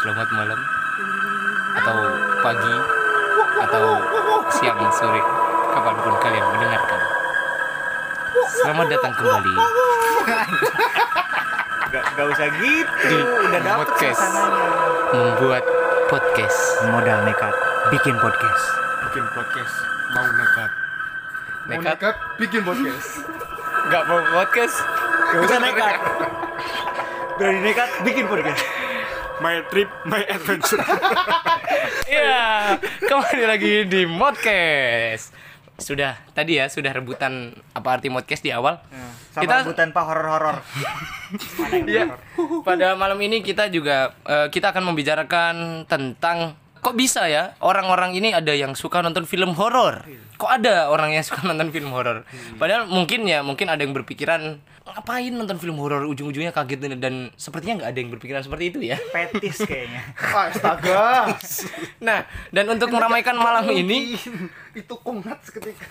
selamat malam atau pagi atau siang sore kapanpun kalian mendengarkan. Selamat datang kembali Gak, gak usah gitu. Udah dapet Podcast. suasananya. membuat podcast Modal nekat bikin podcast. bikin podcast mau nekat mau nekat nekat bikin podcast nggak mau podcast Gak usah nekat. Berani nekat bikin podcast. my trip my adventure Iya, kembali lagi di podcast. Sudah tadi ya sudah rebutan apa arti podcast di awal. Sama Kita- rebutan pak horor-horor. Iya. Pada malam ini kita juga eh, kita akan membicarakan tentang kok bisa ya orang-orang ini ada yang suka nonton film horor. Kok ada orang yang suka nonton film horor? Padahal mungkin ya mungkin ada yang berpikiran ngapain nonton film horor ujung-ujungnya kaget dan, dan sepertinya nggak ada yang berpikiran seperti itu ya. Petis kayaknya. astaga Nah, dan untuk meramaikan malam ini itu kongat seketika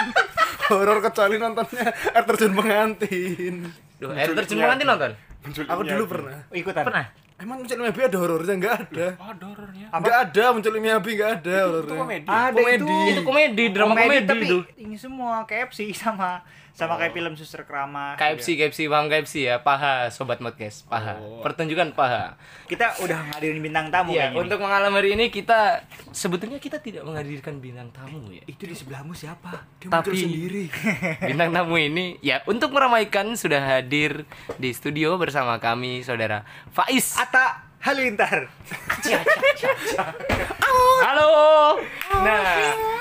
horor kecuali nontonnya air terjun pengantin Duh, air terjun nanti nonton. aku dulu pernah Ikutan. Pernah? emang muncul Miabi ada horornya nggak ada Ada horornya. nggak ada muncul Miabi nggak ada horornya Ada Komedi. Itu komedi, drama komedi, Oh. tapi itu. ini semua KFC sama sama kayak film Suster Keramas. KFC, KFC, paham KFC ya, paha, sobat podcast, paha. Pertunjukan paha. Kita udah ngadirin bintang tamu Iya, kayaknya. untuk malam hari ini kita sebetulnya kita tidak menghadirkan bintang tamu ya. itu di sebelahmu siapa dia muncul sendiri. Bintang tamu ini ya untuk meramaikan sudah hadir di studio bersama kami saudara Faiz. Ata Halilintar. Halo. Nah,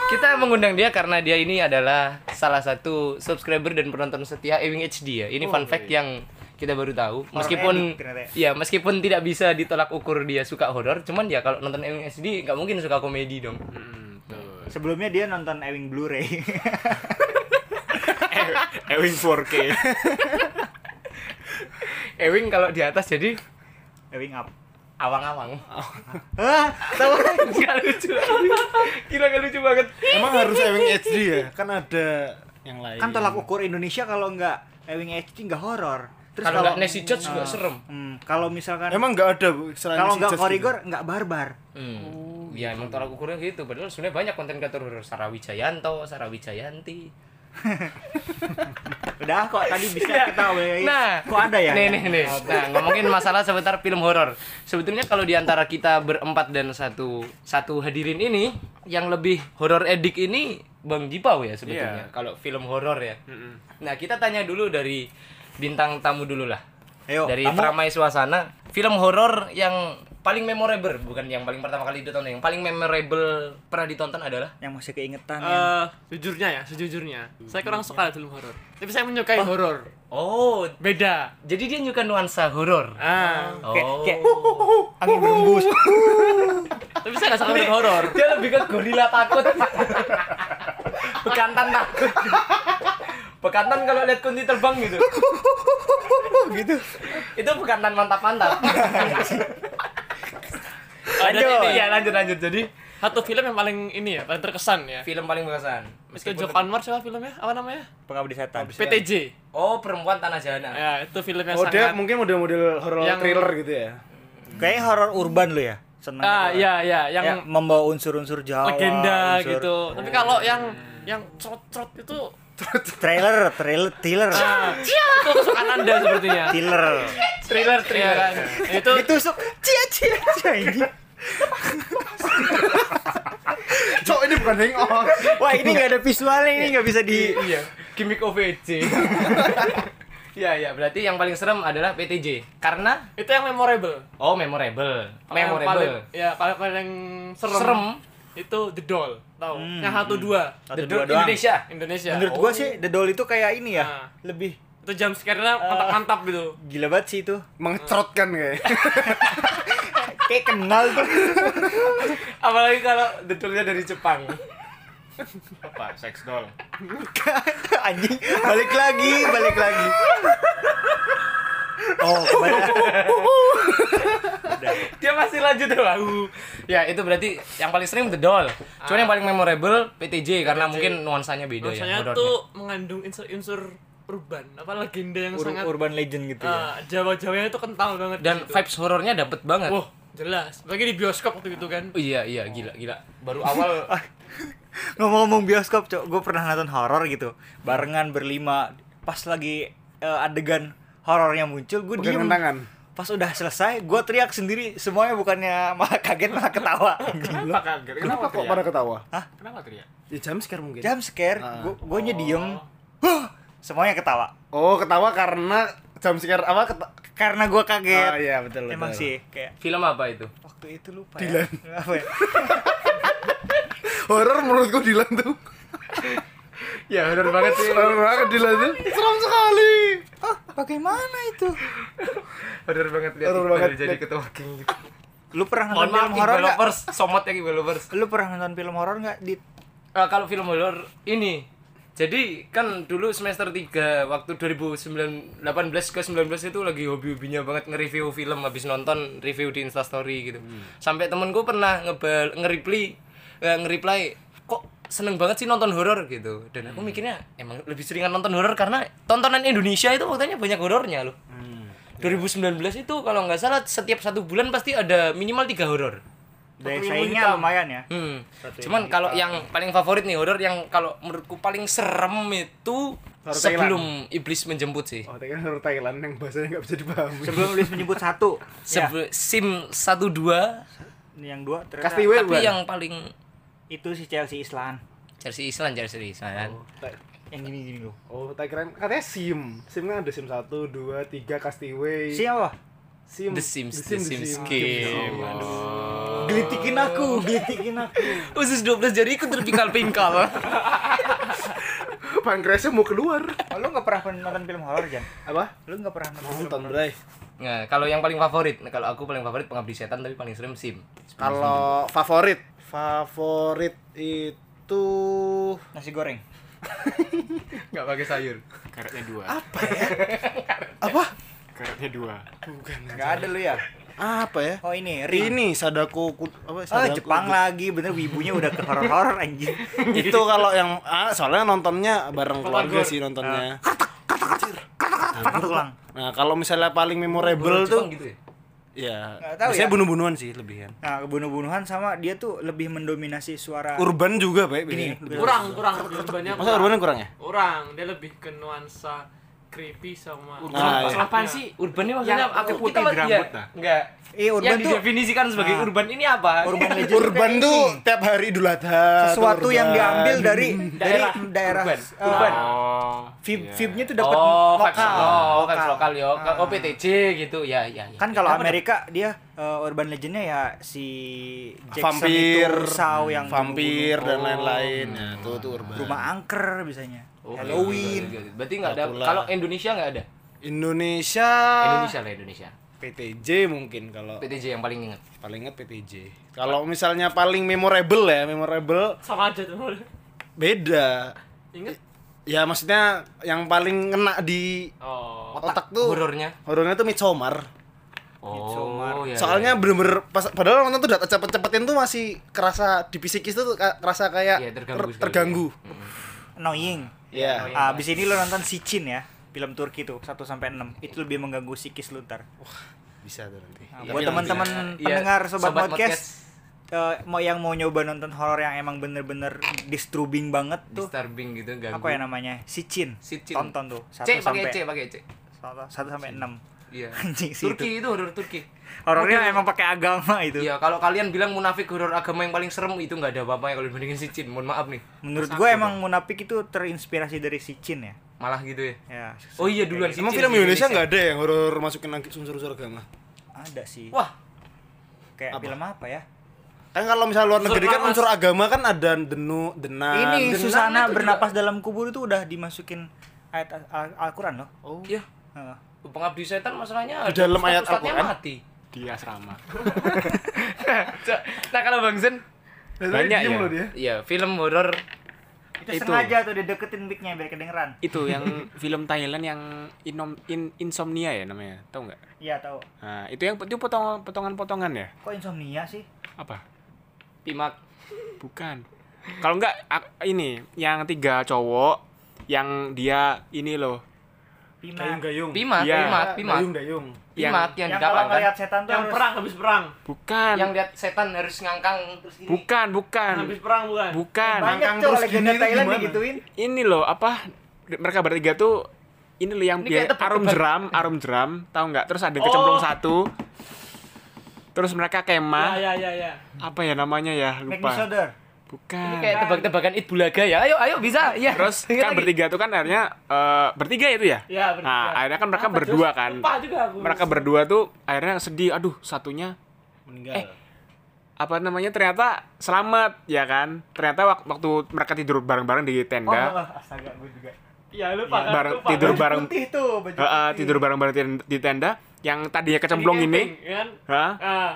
kita mengundang dia karena dia ini adalah salah satu subscriber dan penonton setia Ewing HD ya. Ini fun fact yang kita baru tahu. Meskipun edit ternyata ya meskipun tidak bisa ditolak ukur dia suka horor, cuman ya kalau nonton Ewing HD nggak mungkin suka komedi dong. Sebelumnya dia nonton Ewing Blu-ray. Ewing 4K Ewing kalau di atas jadi Ewing up. Ah, awang-awang. Hah? Tahu? Gak lucu. Gila gak lucu banget. emang harus Ewing HD ya kan ada yang lain kan tolak ukur Indonesia kalau nggak Ewing HD nggak horor. Terus Kalau Nah. nggak Nancy George juga Ah, serem. hmm, kalau kan. misalkan emang nggak ada bu selain kalau si nggak Jazz korigor nggak barbar. Hmm. Ya emang tolak ukurnya gitu. Padahal sebenarnya banyak konten kreator horor Sarawi Jayanto, Sarawi Jayanti. Udah kok tadi bisa kita awalnya. Nah, kok ada ya? Nih nih nih. Nah, ngomongin masalah seputar film horor. Sebetulnya kalau di antara kita berempat dan satu satu hadirin ini yang lebih horor edik ini Bang Jipau ya sebetulnya. Iya. Kalau film horor ya. Nah, kita tanya dulu dari bintang tamu dulu lah. Ayo, dari tamu. peramai suasana, film horor yang paling memorable bukan yang paling pertama kali ditonton, yang paling memorable pernah ditonton adalah Yang masih keingetan yang Eh, sejujurnya ya, sejujurnya. Saya kurang suka film horor. Tapi saya menyukai horor. Oh, Beda. jadi dia nyuka nuansa horor. Ah, Oh. kayak- kayak, angin berembus. tapi saya nggak suka film horor. Dia lebih ke gorila takut. Bekantan takut. Bekantan kalau lihat kunti terbang gitu. gitu. Itu bekantan mantap-mantap. Ada ini Iya, ya. lanjut lanjut. Jadi Satu film yang paling ini ya, paling terkesan ya. film paling berkesan. Mr. Joko Anwar siapa filmnya? Apa namanya? Pengabdi setan. PTJ. Oh, perempuan tanah jana. Ya, itu film yang Oh dia sangat mungkin model-model horror Yang- thriller gitu ya Kayak horor urban lo ya. Seneng. Ah, gitu. ya ya, yang Ya, membawa unsur-unsur Jawa. legenda unsur- gitu. Tapi kalau yang yang trot-trot itu Trailer, trailer, thriller. ah, itu kesukaan Anda sepertinya. Thriller. Thriller thriller. kan? Itu Ditusuk. Cia cia cia ini. Cok ini bukan oh. hangout Wah, ini nggak ada visualnya, ini nggak bisa di iya gimmick OVJ ya ya berarti yang paling serem adalah PTJ karena itu yang memorable. oh memorable Kalau yang paling, ya paling paling serem, Serem. itu The Doll tau yang satu dua The Satu dua Door doang. Indonesia Indonesia Menurut gua sih The Doll itu kayak ini ya, Ah. lebih itu jam sekarang mantap mantap gitu gila banget sih itu. Mengecerot kan kayak Kayak kenal tuh. apalagi kalau detailnya dari Jepang apa sex doll Anjing, balik lagi, balik lagi. Oh, kembali. dia masih lanjut wow ya itu berarti yang paling sering The Doll cuman yang paling memorable PTJ karena mungkin nuansanya beda ya maksudnya horornya. tuh mengandung unsur-unsur urban apa legenda yang Ur- sangat urban legend gitu ya. Jawa Jawanya itu kental banget dan gitu. vibes horornya dapet banget wah Jelas. Bagi di bioskop waktu itu kan. Oh, iya iya gila gila. Baru awal Ah. Ngomong-ngomong bioskop, cok, gue pernah nonton horor gitu, barengan berlima, pas lagi eh, adegan horornya muncul, gue diem. Pegangan tangan. Pas udah selesai, gue teriak sendiri, semuanya bukannya malah kaget malah ketawa. Kenapa kaget? Kenapa kok pada ketawa? Kenapa teriak? Ya jam scare mungkin. Jam scare, Ah. gue nya diem, huh, semuanya ketawa. Oh, ketawa karena jam scare apa? Keta- Karena gue kaget. Ah, iya, betul, Emang betul. sih, kayak film apa itu? waktu itu lupa Dilan. ya. Apa ya? horor menurutku Dilan tuh. Ya benar banget sih. Horor banget Dilan tuh. Serem sekali. Ah, bagaimana itu? Benar banget lihat Horor banget. Jadi ketua gitu. Lu pernah Mohon nonton maaf film nih horor nggak? developers, somot ya developers. Lu pernah nonton film horor nggak di Eh, kalau film horor ini jadi kan dulu semester 3 waktu 2018 ke 19 itu lagi hobi-hobinya banget nge-review film habis nonton review di Instastory gitu. Sampai temenku pernah ngebal nge-reply eh, nge-reply kok seneng banget sih nonton horor gitu. Dan aku mikirnya emang lebih seringan nonton horor karena tontonan Indonesia itu faktanya banyak horornya loh. 2019 itu kalau nggak salah setiap satu bulan pasti ada minimal tiga horor. daya saingnya lumayan ya? Hmm. Cuman kalau yang paling favorit nih horor yang kalau menurutku paling serem itu Horor sebelum iblis menjemput sih. Oh, tapi kan horor Thailand yang bahasanya nggak bisa dipahami. Sebelum Luis menyebut satu. Ya, Sebe- Sim 12 ini yang dua ternyata Castiway tapi bukan? yang paling itu si Chelsea Islan. jersey Island jersey Island. Ta- Yang gini-gini loh. Oh, tak keren. Katanya SIM. SIM kan ada SIM 1, 2, 3, Castaway. Siapa? SIM. The Sims, The Sims game. Oh. Gelitikin aku, gelitikin aku. Usus 12 jadi ikut terpingkal-pingkal. Pankreasnya mau keluar. Oh, lu nggak pernah pen- nonton film horor, Jan? Apa? Lu nggak pernah nonton film Nonton, horor? Bray. nah, kalau yang paling favorit, nah, kalau aku paling favorit pengabdi setan tapi paling serem Sim. Kalau favorit, favorit itu Nasi goreng. Enggak pakai sayur. Karetnya dua. ya? apa? Karetnya dua. Nggak ada lu ya? Apa ya? Ah, Oh ini, Rin. Ini sadako ku- apa Oh, Sadako Jepang ku- lagi, bener wibunya udah ke horor-horor anjing. Itu kalau yang ah, soalnya nontonnya bareng keluarga Keluarga. sih nontonnya. Patah tulang. Nah, kalau misalnya paling memorable tuh Jepang gitu ya. ya Nggak tahu biasanya ya. bunuh-bunuhan sih lebih kan. Nah, bunuh-bunuhan sama dia tuh lebih mendominasi suara. Urban juga baik Gini, biasanya. Lebih- Kurang, kurang urbannya. Masa kurang. urban yang kurang ya? Kurang, dia lebih ke nuansa creepy sama Urban. Nah, iya. ya. Apaan sih urban ini maksudnya Yang aku putih kita mah- berambut, iya, nah. enggak. Eh, urban yang Ya, tuh- didefinisikan sebagai Nah. urban ini apa? Urban legend Urban kayak tuh ini. tiap hari Idul Adha. sesuatu tuh yang urban. diambil dari dari Daerah. daerah Urban. eh, Urban. Nah, Oh. vib iya. vibnya tuh dapat Oh, vibes lokal. Ah. oh, vibes lokal yo. OPTC gitu. Ya, ya, ya. Kan kalau Amerika dia eh, urban legendnya ya si Jackson Vampir, itu saw yang vampir dan bunuh-bunuh. lain-lain. Nah, tuh tuh urban. Oh, rumah angker biasanya. Oh, iya, Halloween. iya, iya, iya. Berarti enggak ada Dracula. kalau Indonesia enggak ada. Indonesia, Ah. Indonesia lah Indonesia. PTJ mungkin kalau PTJ yang paling inget. paling inget PTJ. Kalau misalnya paling memorable ya, memorable sama aja tuh. beda. Ingat? Ya maksudnya yang paling kena di Oh. otak, tuh horornya. horornya tuh Midsommar. Gitu, Oh, iya. Ya, Soalnya bener-bener pas padahal nonton tuh udah cepet-cepetin tuh masih kerasa di psikis tuh ka- kerasa kayak Iya, terganggu ter- sekali. terganggu. Annoying. Iya. Ah, Abis ini lo nonton Sicin ya, film Turki tuh 1 sampai 6. Itu lebih mengganggu psikis lu ntar. Bisa tuh Nah, nanti. Oh, Iya, buat iya, teman-teman iya. pendengar Iya, sobat, Sobat podcast, Podcast. eh, mau yang mau nyoba nonton horor yang emang bener-bener disturbing banget tuh disturbing gitu ganggu. apa ya namanya Sicin Sicin. tonton tuh C pakai C, pakai C. satu, satu sampai enam Iya. Anjing sih Turki itu horor Turki. horornya emang pakai agama itu Iya, kalau kalian bilang munafik horor agama yang paling serem itu nggak ada apa-apa ya kalau dibandingin si Cin. Mohon maaf nih. menurut gue emang munafik itu terinspirasi dari Sicin ya Malah gitu ya. ya Oh iya duluan si Emang Cin film di Indonesia nggak ada yang horor masukin unsur-unsur agama? ada sih Wah, kayak film apa ya Kan kalau misalnya luar Unsur negeri kan lawas. unsur agama kan ada denu, denan. ini Den- Susana bernapas dalam kubur itu udah dimasukin ayat Al- Al- Al-Quran loh oh. iya. Heeh. Pengabdi setan masalahnya Di dalam ustaz- ayat ustaznya Al-Quran? mati. Di asrama. Cok, nah kalau Bang Zen Dan banyak diem ya. loh dia. Iya, film horor itu, sengaja tuh dideketin mic-nya biar kedengeran Itu yang film Thailand yang inom, in, insomnia ya namanya. Tahu nggak? iya tahu Nah, itu yang itu potongan potongan-potongan ya? kok insomnia sih Apa? Pimak. Bukan. Kalau enggak ak- ini yang tiga cowok yang dia ini loh. Pima. Dayung Gayung. Pimat, Iya. pimat, pimat. Dayung Dayung. Pimat Nah, yang, Yang, di kalau kapal kan. ngelihat setan tuh yang harus- perang habis perang Bukan. Yang lihat setan harus ngangkang terus gini. Bukan, bukan. habis perang bukan Bukan. banyak Nangkang cowok terus legenda gini tuh Thailand gimana? digituin. Ini loh apa mereka bertiga tuh ini loh yang Ini biar kayak tebak-tebak. arum jeram, arum jeram, tahu nggak? Terus ada yang kecemplung Oh. satu. Terus ya mereka Iya, kemah. ya ya ya Apa ya namanya ya? Make me Lupa. shudder. Bukan. Ini kayak tebak-tebakan It Bulaga ya. Ayo, ayo bisa. Iya. Terus Ingat kan lagi. bertiga tuh kan akhirnya eh, bertiga itu ya? Iya, bertiga. Nah, akhirnya kan mereka Apa, berdua Jos? kan. Lupa juga aku. Mereka berdua tuh akhirnya sedih. Aduh, satunya Meninggal. apa namanya ternyata selamat ya kan ternyata wak- waktu mereka tidur bareng-bareng di Oh, tenda astaga gue juga. ya lupa kan bareng lupa. tidur Baju bareng Putih tuh baju. Eh, eh, putih. tidur bareng-bareng di tenda- di tenda yang tadinya tadi kecemplung ini camping, kan Hah? Ah.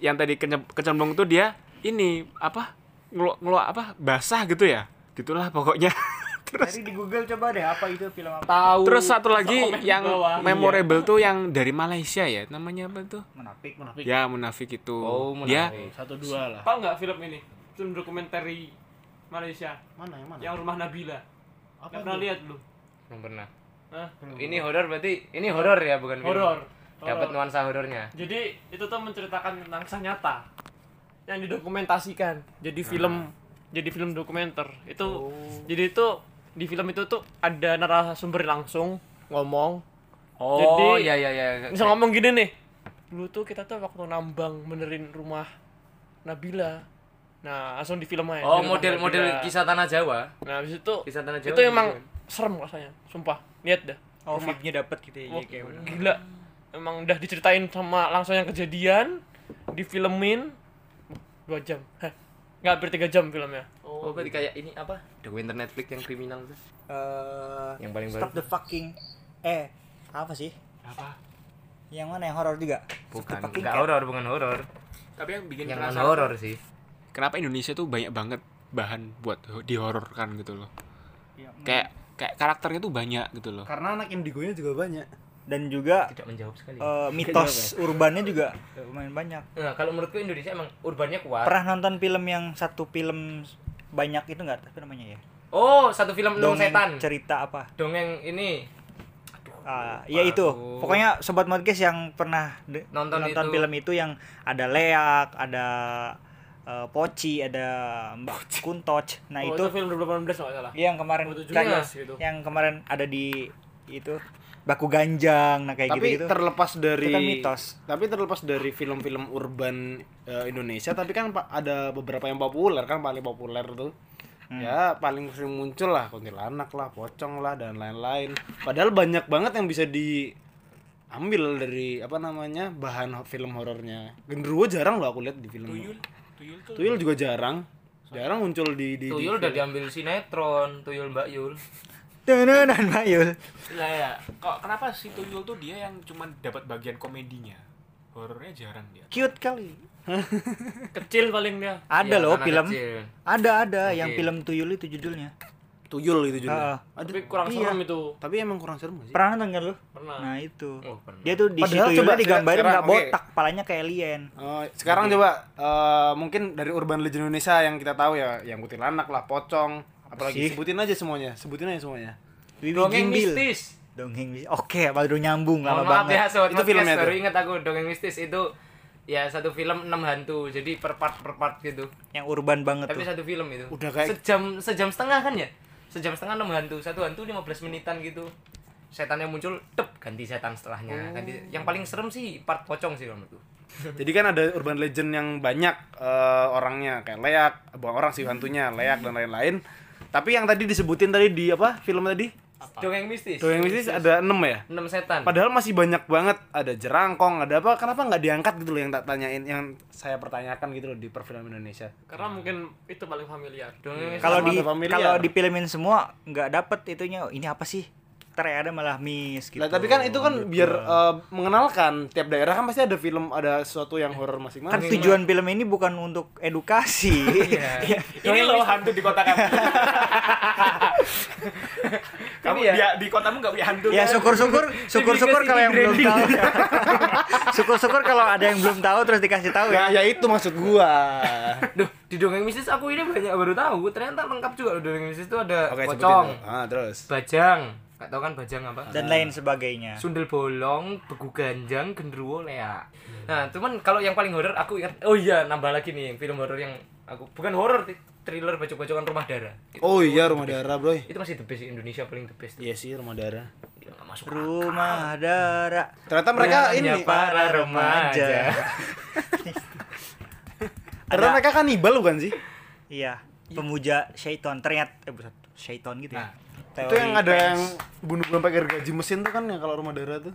yang tadi kece- kecemplung tuh dia ini apa ngelu ngelu apa basah gitu ya gitulah pokoknya Tadi terus di Google coba deh apa itu film apa? tahu. terus satu lagi komen di yang bawah. memorable tuh yang dari Malaysia ya namanya apa tuh Menapik. ya munafik itu Oh, dia menarik. Satu dua lah. Tahu nggak film ini? Film dokumenter Malaysia Mana yang mana? yang Rumah Nabila. Apa itu? pernah lihat belum? Belum pernah. Hah? Ini horor berarti ini horor ya, bukan film. Horor. Dapat Horor. nuansa horornya. Jadi itu tuh menceritakan tentang kisah nyata yang didokumentasikan. Ah. Jadi film jadi film dokumenter. Itu Oh. jadi itu di film itu tuh ada narasumber langsung ngomong. Oh, Jadi- iya iya iya. Bisa ngomong gini nih. Dulu tuh kita tuh waktu nambang benerin rumah Nabila. Nah, langsung di film aja. Oh, di rumah model-model Nabila. kisah tanah Jawa. Nah, habis itu Kisah tanah Jawa itu gitu emang kan? serem rasanya, sumpah. Lihat dah. Oh, vibe-nya dapet gitu ya. Wah, kayak bener. gila. Emang udah diceritain sama langsung yang kejadian, difilmin Wah, dua jam. Hah. Nggak hampir tiga jam filmnya. Oh, berarti kayak ini apa? The Winter Netflix yang kriminal tuh. Eh, Yang paling Stop baru. the fucking eh apa sih? apa Yang mana yang horor juga? Stop the Bukan, fucking enggak cat. horor, bukan horor. tapi yang bikin Yang penasaran- non horor sih. kenapa Indonesia tuh banyak banget bahan buat ho- dihororkan gitu loh kayak kayak karakternya tuh banyak gitu loh Karena anak indigonya juga banyak. Dan juga Tidak menjawab sekali. eh, mitos ya. urbannya juga lumayan banyak. Nah, kalau menurutku Indonesia emang urbannya kuat. Pernah nonton film yang satu film banyak itu enggak? Tapi namanya ya. Oh, satu film Enam Setan. cerita apa? Dongeng ini Ah, ya itu. Aku- Pokoknya sobat podcast yang pernah de- Nonton itu. film itu yang ada Leak, ada eh, Poci, ada Mbak Kuntoch. Nah, Oh, itu film 2018 nggak salah. yang kemarin Oh, itu kan- juga gitu. yang kemarin ada di itu baku ganjang nah kayak tapi gitu gitu terlepas dari Itu kan mitos. tapi terlepas dari film-film urban eh, Indonesia tapi kan pa- ada beberapa yang populer kan paling populer tuh Hmm. ya paling sering muncul lah kuntilanak lah pocong lah dan lain-lain padahal banyak banget yang bisa diambil dari apa namanya bahan ho- film horornya genderuwo jarang loh aku lihat di film tuyul tuyul juga jarang jarang muncul di di, di Tuyul udah diambil sinetron, Tuyul Mbak Yul. dan Mayul lah ya kok kenapa si tuyul tuh dia yang cuman dapat bagian komedinya horornya jarang dia cute kali Kecil paling dia. ada Iya, loh anak film kecil. ada ada yang film tuyul itu judulnya tuyul gitu juga Iya. Ah. Tapi kurang serem itu. tapi emang kurang serem gak sih pernah nonton kan lu Pernah. nah itu Oh, pernah. dia tuh di situ Padahal coba tuyulnya digambarin sekarang, nggak oke. botak palanya kayak alien Oh, sekarang coba eh, mungkin dari urban legend Indonesia yang kita tahu ya, yang kuntilanak lah, pocong, apalagi sih? sebutin aja semuanya, sebutin aja semuanya. Wiwi Dongeng Jimbil. mistis. dongeng mistis oke baru nyambung lama Mohon maaf ya, banget sobat Itu podcast, filmnya baru tuh. ingat aku dongeng mistis itu ya satu film enam hantu. Jadi per part per part gitu. yang urban banget Tapi tuh satu film itu. Udah kayak- sejam sejam setengah kan ya? Sejam setengah enam hantu. Satu hantu 15 menitan gitu. Setan yang muncul, tep, ganti setan Oh. setelahnya. Ganti. Yang paling serem sih part pocong sih kalau menurutku. Jadi kan ada urban legend yang banyak eh, orangnya kayak leak, bukan orang sih hantunya, leak dan lain-lain. Tapi yang tadi disebutin tadi di apa film tadi? Dongeng mistis. Dongeng mistis ada 6 ya. enam setan. Padahal masih banyak banget ada jerangkong, ada apa? Kenapa nggak diangkat gitu loh yang tak tanyain, yang saya pertanyakan gitu loh di perfilman Indonesia. Karena mungkin itu paling familiar. Dongeng mistis. kalau sama di ada familiar. kalau dipilimin semua nggak dapet itunya Oh, ini apa sih Ntar ya ada malah miss gitu Lah, tapi kan itu kan biar eh, mengenalkan tiap daerah kan pasti ada film ada sesuatu yang horor kan masing-masing. tujuan film ini bukan untuk edukasi Ya, Iya. ini loh hantu di kota kamu kamu Iya. dia- di kotamu nggak punya hantu kan? ya syukur syukur syukur syukur kalau yang belum tahu syukur syukur kalau ada yang belum tahu terus dikasih tahu ya Nah, ya itu maksud gua. Duh, di dongeng mistis aku ini banyak baru tahu. Ternyata lengkap juga loh dongeng mistis itu ada Oke, sebutin pocong, dulu. Ah, terus. bajang, Gak tau kan bajang apa? dan lain sebagainya. Sundel bolong, begu ganjang, genderuwo lea. Nah, cuman kalau yang paling horor aku ingat oh iya nambah lagi nih yang film horor yang aku bukan horor ti- thriller bacok-bacokan rumah darah. Itu, Oh iya rumah darah bro. itu masih the best Indonesia paling the best. Iya sih rumah darah. Gila, nggak masuk. Rumah darah. Ternyata mereka ini. Hanya para remaja. Ternyata mereka kanibal bukan sih? Iya, pemuja syaiton ternyata eh buset, syaiton gitu ya. Nah. itu yang ada yang bunuh-bunuh pakai gergaji mesin tuh kan ya kalau rumah darah tuh.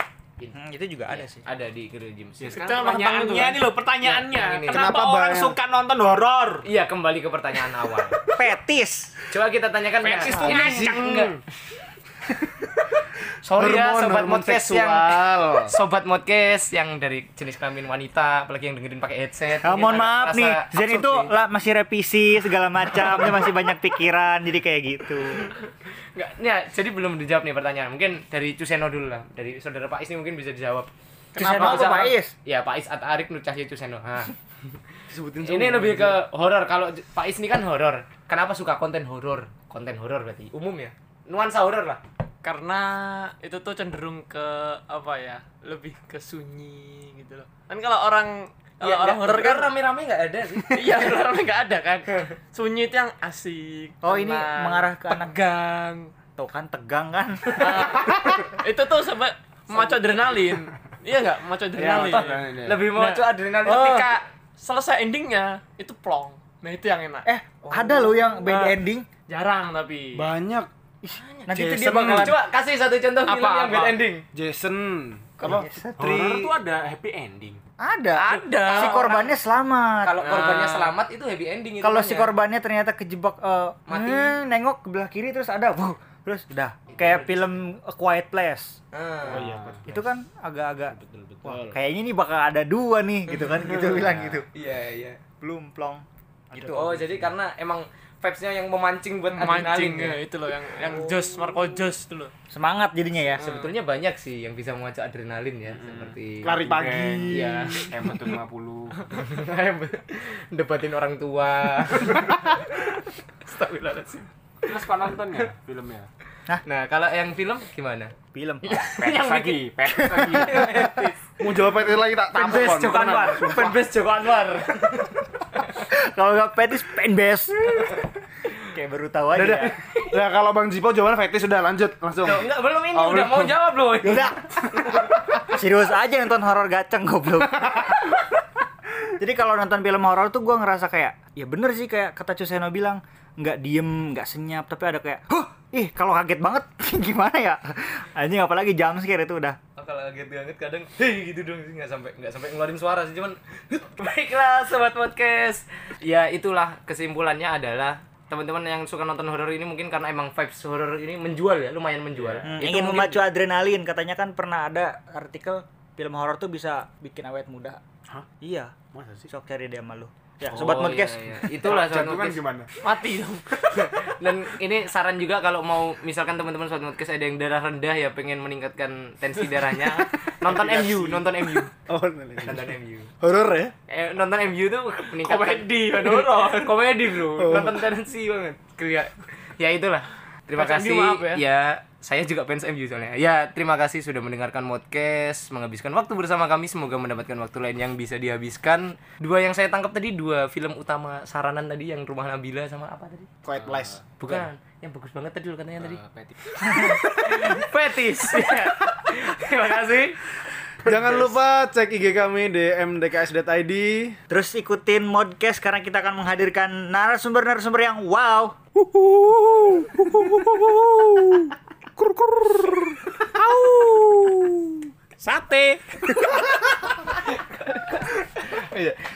Hmm, itu juga Iya. ada sih. Ada di Gereja James. pertanyaannya nih loh pertanyaannya Iya, Yang ini. kenapa, Kenapa orang banyak- suka nonton horor Iya, kembali ke pertanyaan awal. Petis. Coba kita tanyakan nggak? Fetish tuh Ini kenceng. sih, enggak? Sorry ya Hormon- sobat hormon podcast yang seksual. sobat podcast yang dari jenis kelamin wanita apalagi yang dengerin pakai headset. Ah, Ya, mohon Ini maaf rasa nih, Zen absurd itu sih. lah masih revisi segala macam, dia masih banyak pikiran jadi kayak gitu. Nggak, ya, jadi belum dijawab nih pertanyaan. Mungkin dari Cuseno dulu lah. Dari saudara Pak Is nih mungkin bisa dijawab. Kenapa bisa- apa Pak Is? Ya Pak Is atau Arik Nur Cahyo Cuseno. Ha. Disebutin Ini lebih ke horor. Kalau J- Pak Is ini kan horor. Kenapa suka konten horor? Konten horor berarti umum ya. Nuansa horor lah. karena itu tuh cenderung ke apa ya lebih ke sunyi gitu loh kan kalau orang kalau Iya, orang nggak- horor kan rame-rame nggak ada sih. iya orang nggak ada kan sunyi itu yang asik Oh, ini tenang, mengarah ke anak- tegang Tuh kan tegang kan. itu tuh sampai memacu adrenalin iya nggak memacu adrenalin Lebih mau Nah, nah, adrenalin. ketika selesai endingnya itu plong nah itu yang enak Eh, ada loh yang Nah. bad ending. jarang tapi banyak Nanti itu dia Jason. bakalan Coba kasih satu contoh film Apa, yang bad apa? ending. Jason apa horor tuh ada happy ending ada. Ada. Si korbannya selamat. Kalau korbannya selamat itu happy ending itu. kan Nah. ya. Kalau si namanya. korbannya ternyata kejebak eh, Mati. hmm, nengok ke belah kiri terus ada wuh, terus udah kayak film A Quiet Place. Oh, Ah. iya, Itu kan agak-agak betul. wah, kayaknya nih bakal ada dua nih gitu kan gitu bilang gitu. Iya, iya. Belum plong. Gitu. Oh, jadi karena emang vibes-nya yang memancing buat mancing adrenalin. ya. itu loh yang yang jos Marco Jos itu loh Semangat jadinya ya. Sebetulnya banyak sih yang bisa memacu adrenalin ya, seperti lari pagi Iya. emang tuh 50 debatin orang tua. terus kau nonton ya filmnya Nah, kalau yang film gimana? Film. pets lagi pets lagi mau jawab itu lagi tak tampon Fanbase Joko Anwar. Fanbase Joko Anwar. Kalau nggak petis penbes. kayak baru tahu aja. Dadah. ya. Nah, kalau Bang Jipo jawaban fetish sudah lanjut langsung. Loh, enggak belum ini Oh, udah belum. mau jawab loh. Udah. Serius aja nonton horor gaceng goblok. Jadi kalau nonton film horor tuh gua ngerasa kayak ya bener sih kayak kata Cuseno bilang nggak diem nggak senyap tapi ada kayak huh ih kalau kaget banget gimana ya anjing apalagi jam scare itu udah Oh, kalau kaget banget kadang hei gitu dong sih nggak sampai nggak sampai ngeluarin suara sih cuman baiklah sobat podcast ya itulah kesimpulannya adalah teman-teman yang suka nonton horor ini mungkin karena emang vibes horor ini menjual ya lumayan menjual itu Hmm, mungkin ingin memacu adrenalin katanya kan pernah ada artikel film horor tuh bisa bikin awet muda Hah? iya masa sih sok cari dia malu ya sobat Oh, podcast iya, iya. itulah sobat jantungan podcast gimana mati dong dan ini saran juga kalau mau misalkan teman-teman sobat podcast ada yang darah rendah ya pengen meningkatkan tensi darahnya nonton MU nonton MU Oh, boleh. nonton MU horor ya? eh, nonton MU tuh meningkatkan komedi kan horor komedi bro nonton tendensi banget Kelihat. ya itulah terima Fans kasih MU, maaf ya. ya. saya juga fans MU soalnya ya terima kasih sudah mendengarkan podcast menghabiskan waktu bersama kami semoga mendapatkan waktu lain yang bisa dihabiskan dua yang saya tangkap tadi dua film utama saranan tadi yang rumah Nabila sama apa tadi Quiet place. bukan, yang bagus banget tadi lo katanya tadi Petis. petis Ya. terima kasih Jangan lupa cek IG kami di mdks.id. Terus ikutin modcast karena kita akan menghadirkan narasumber-narasumber yang wow. sate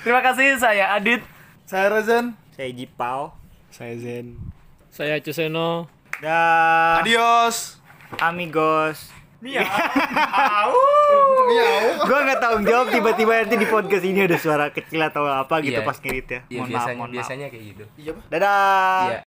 terima kasih saya Adit Saya Rezan. Saya Jipau. Saya Zen. saya Cuseno Dah, Adios. amigos. Miau. Gua nggak tanggung jawab tiba-tiba nanti di podcast ini ada suara kecil atau apa gitu Iya. pas ngedit ya. ya, Mohon maaf, biasanya mohon maaf. biasanya kayak gitu Dadah. Iya.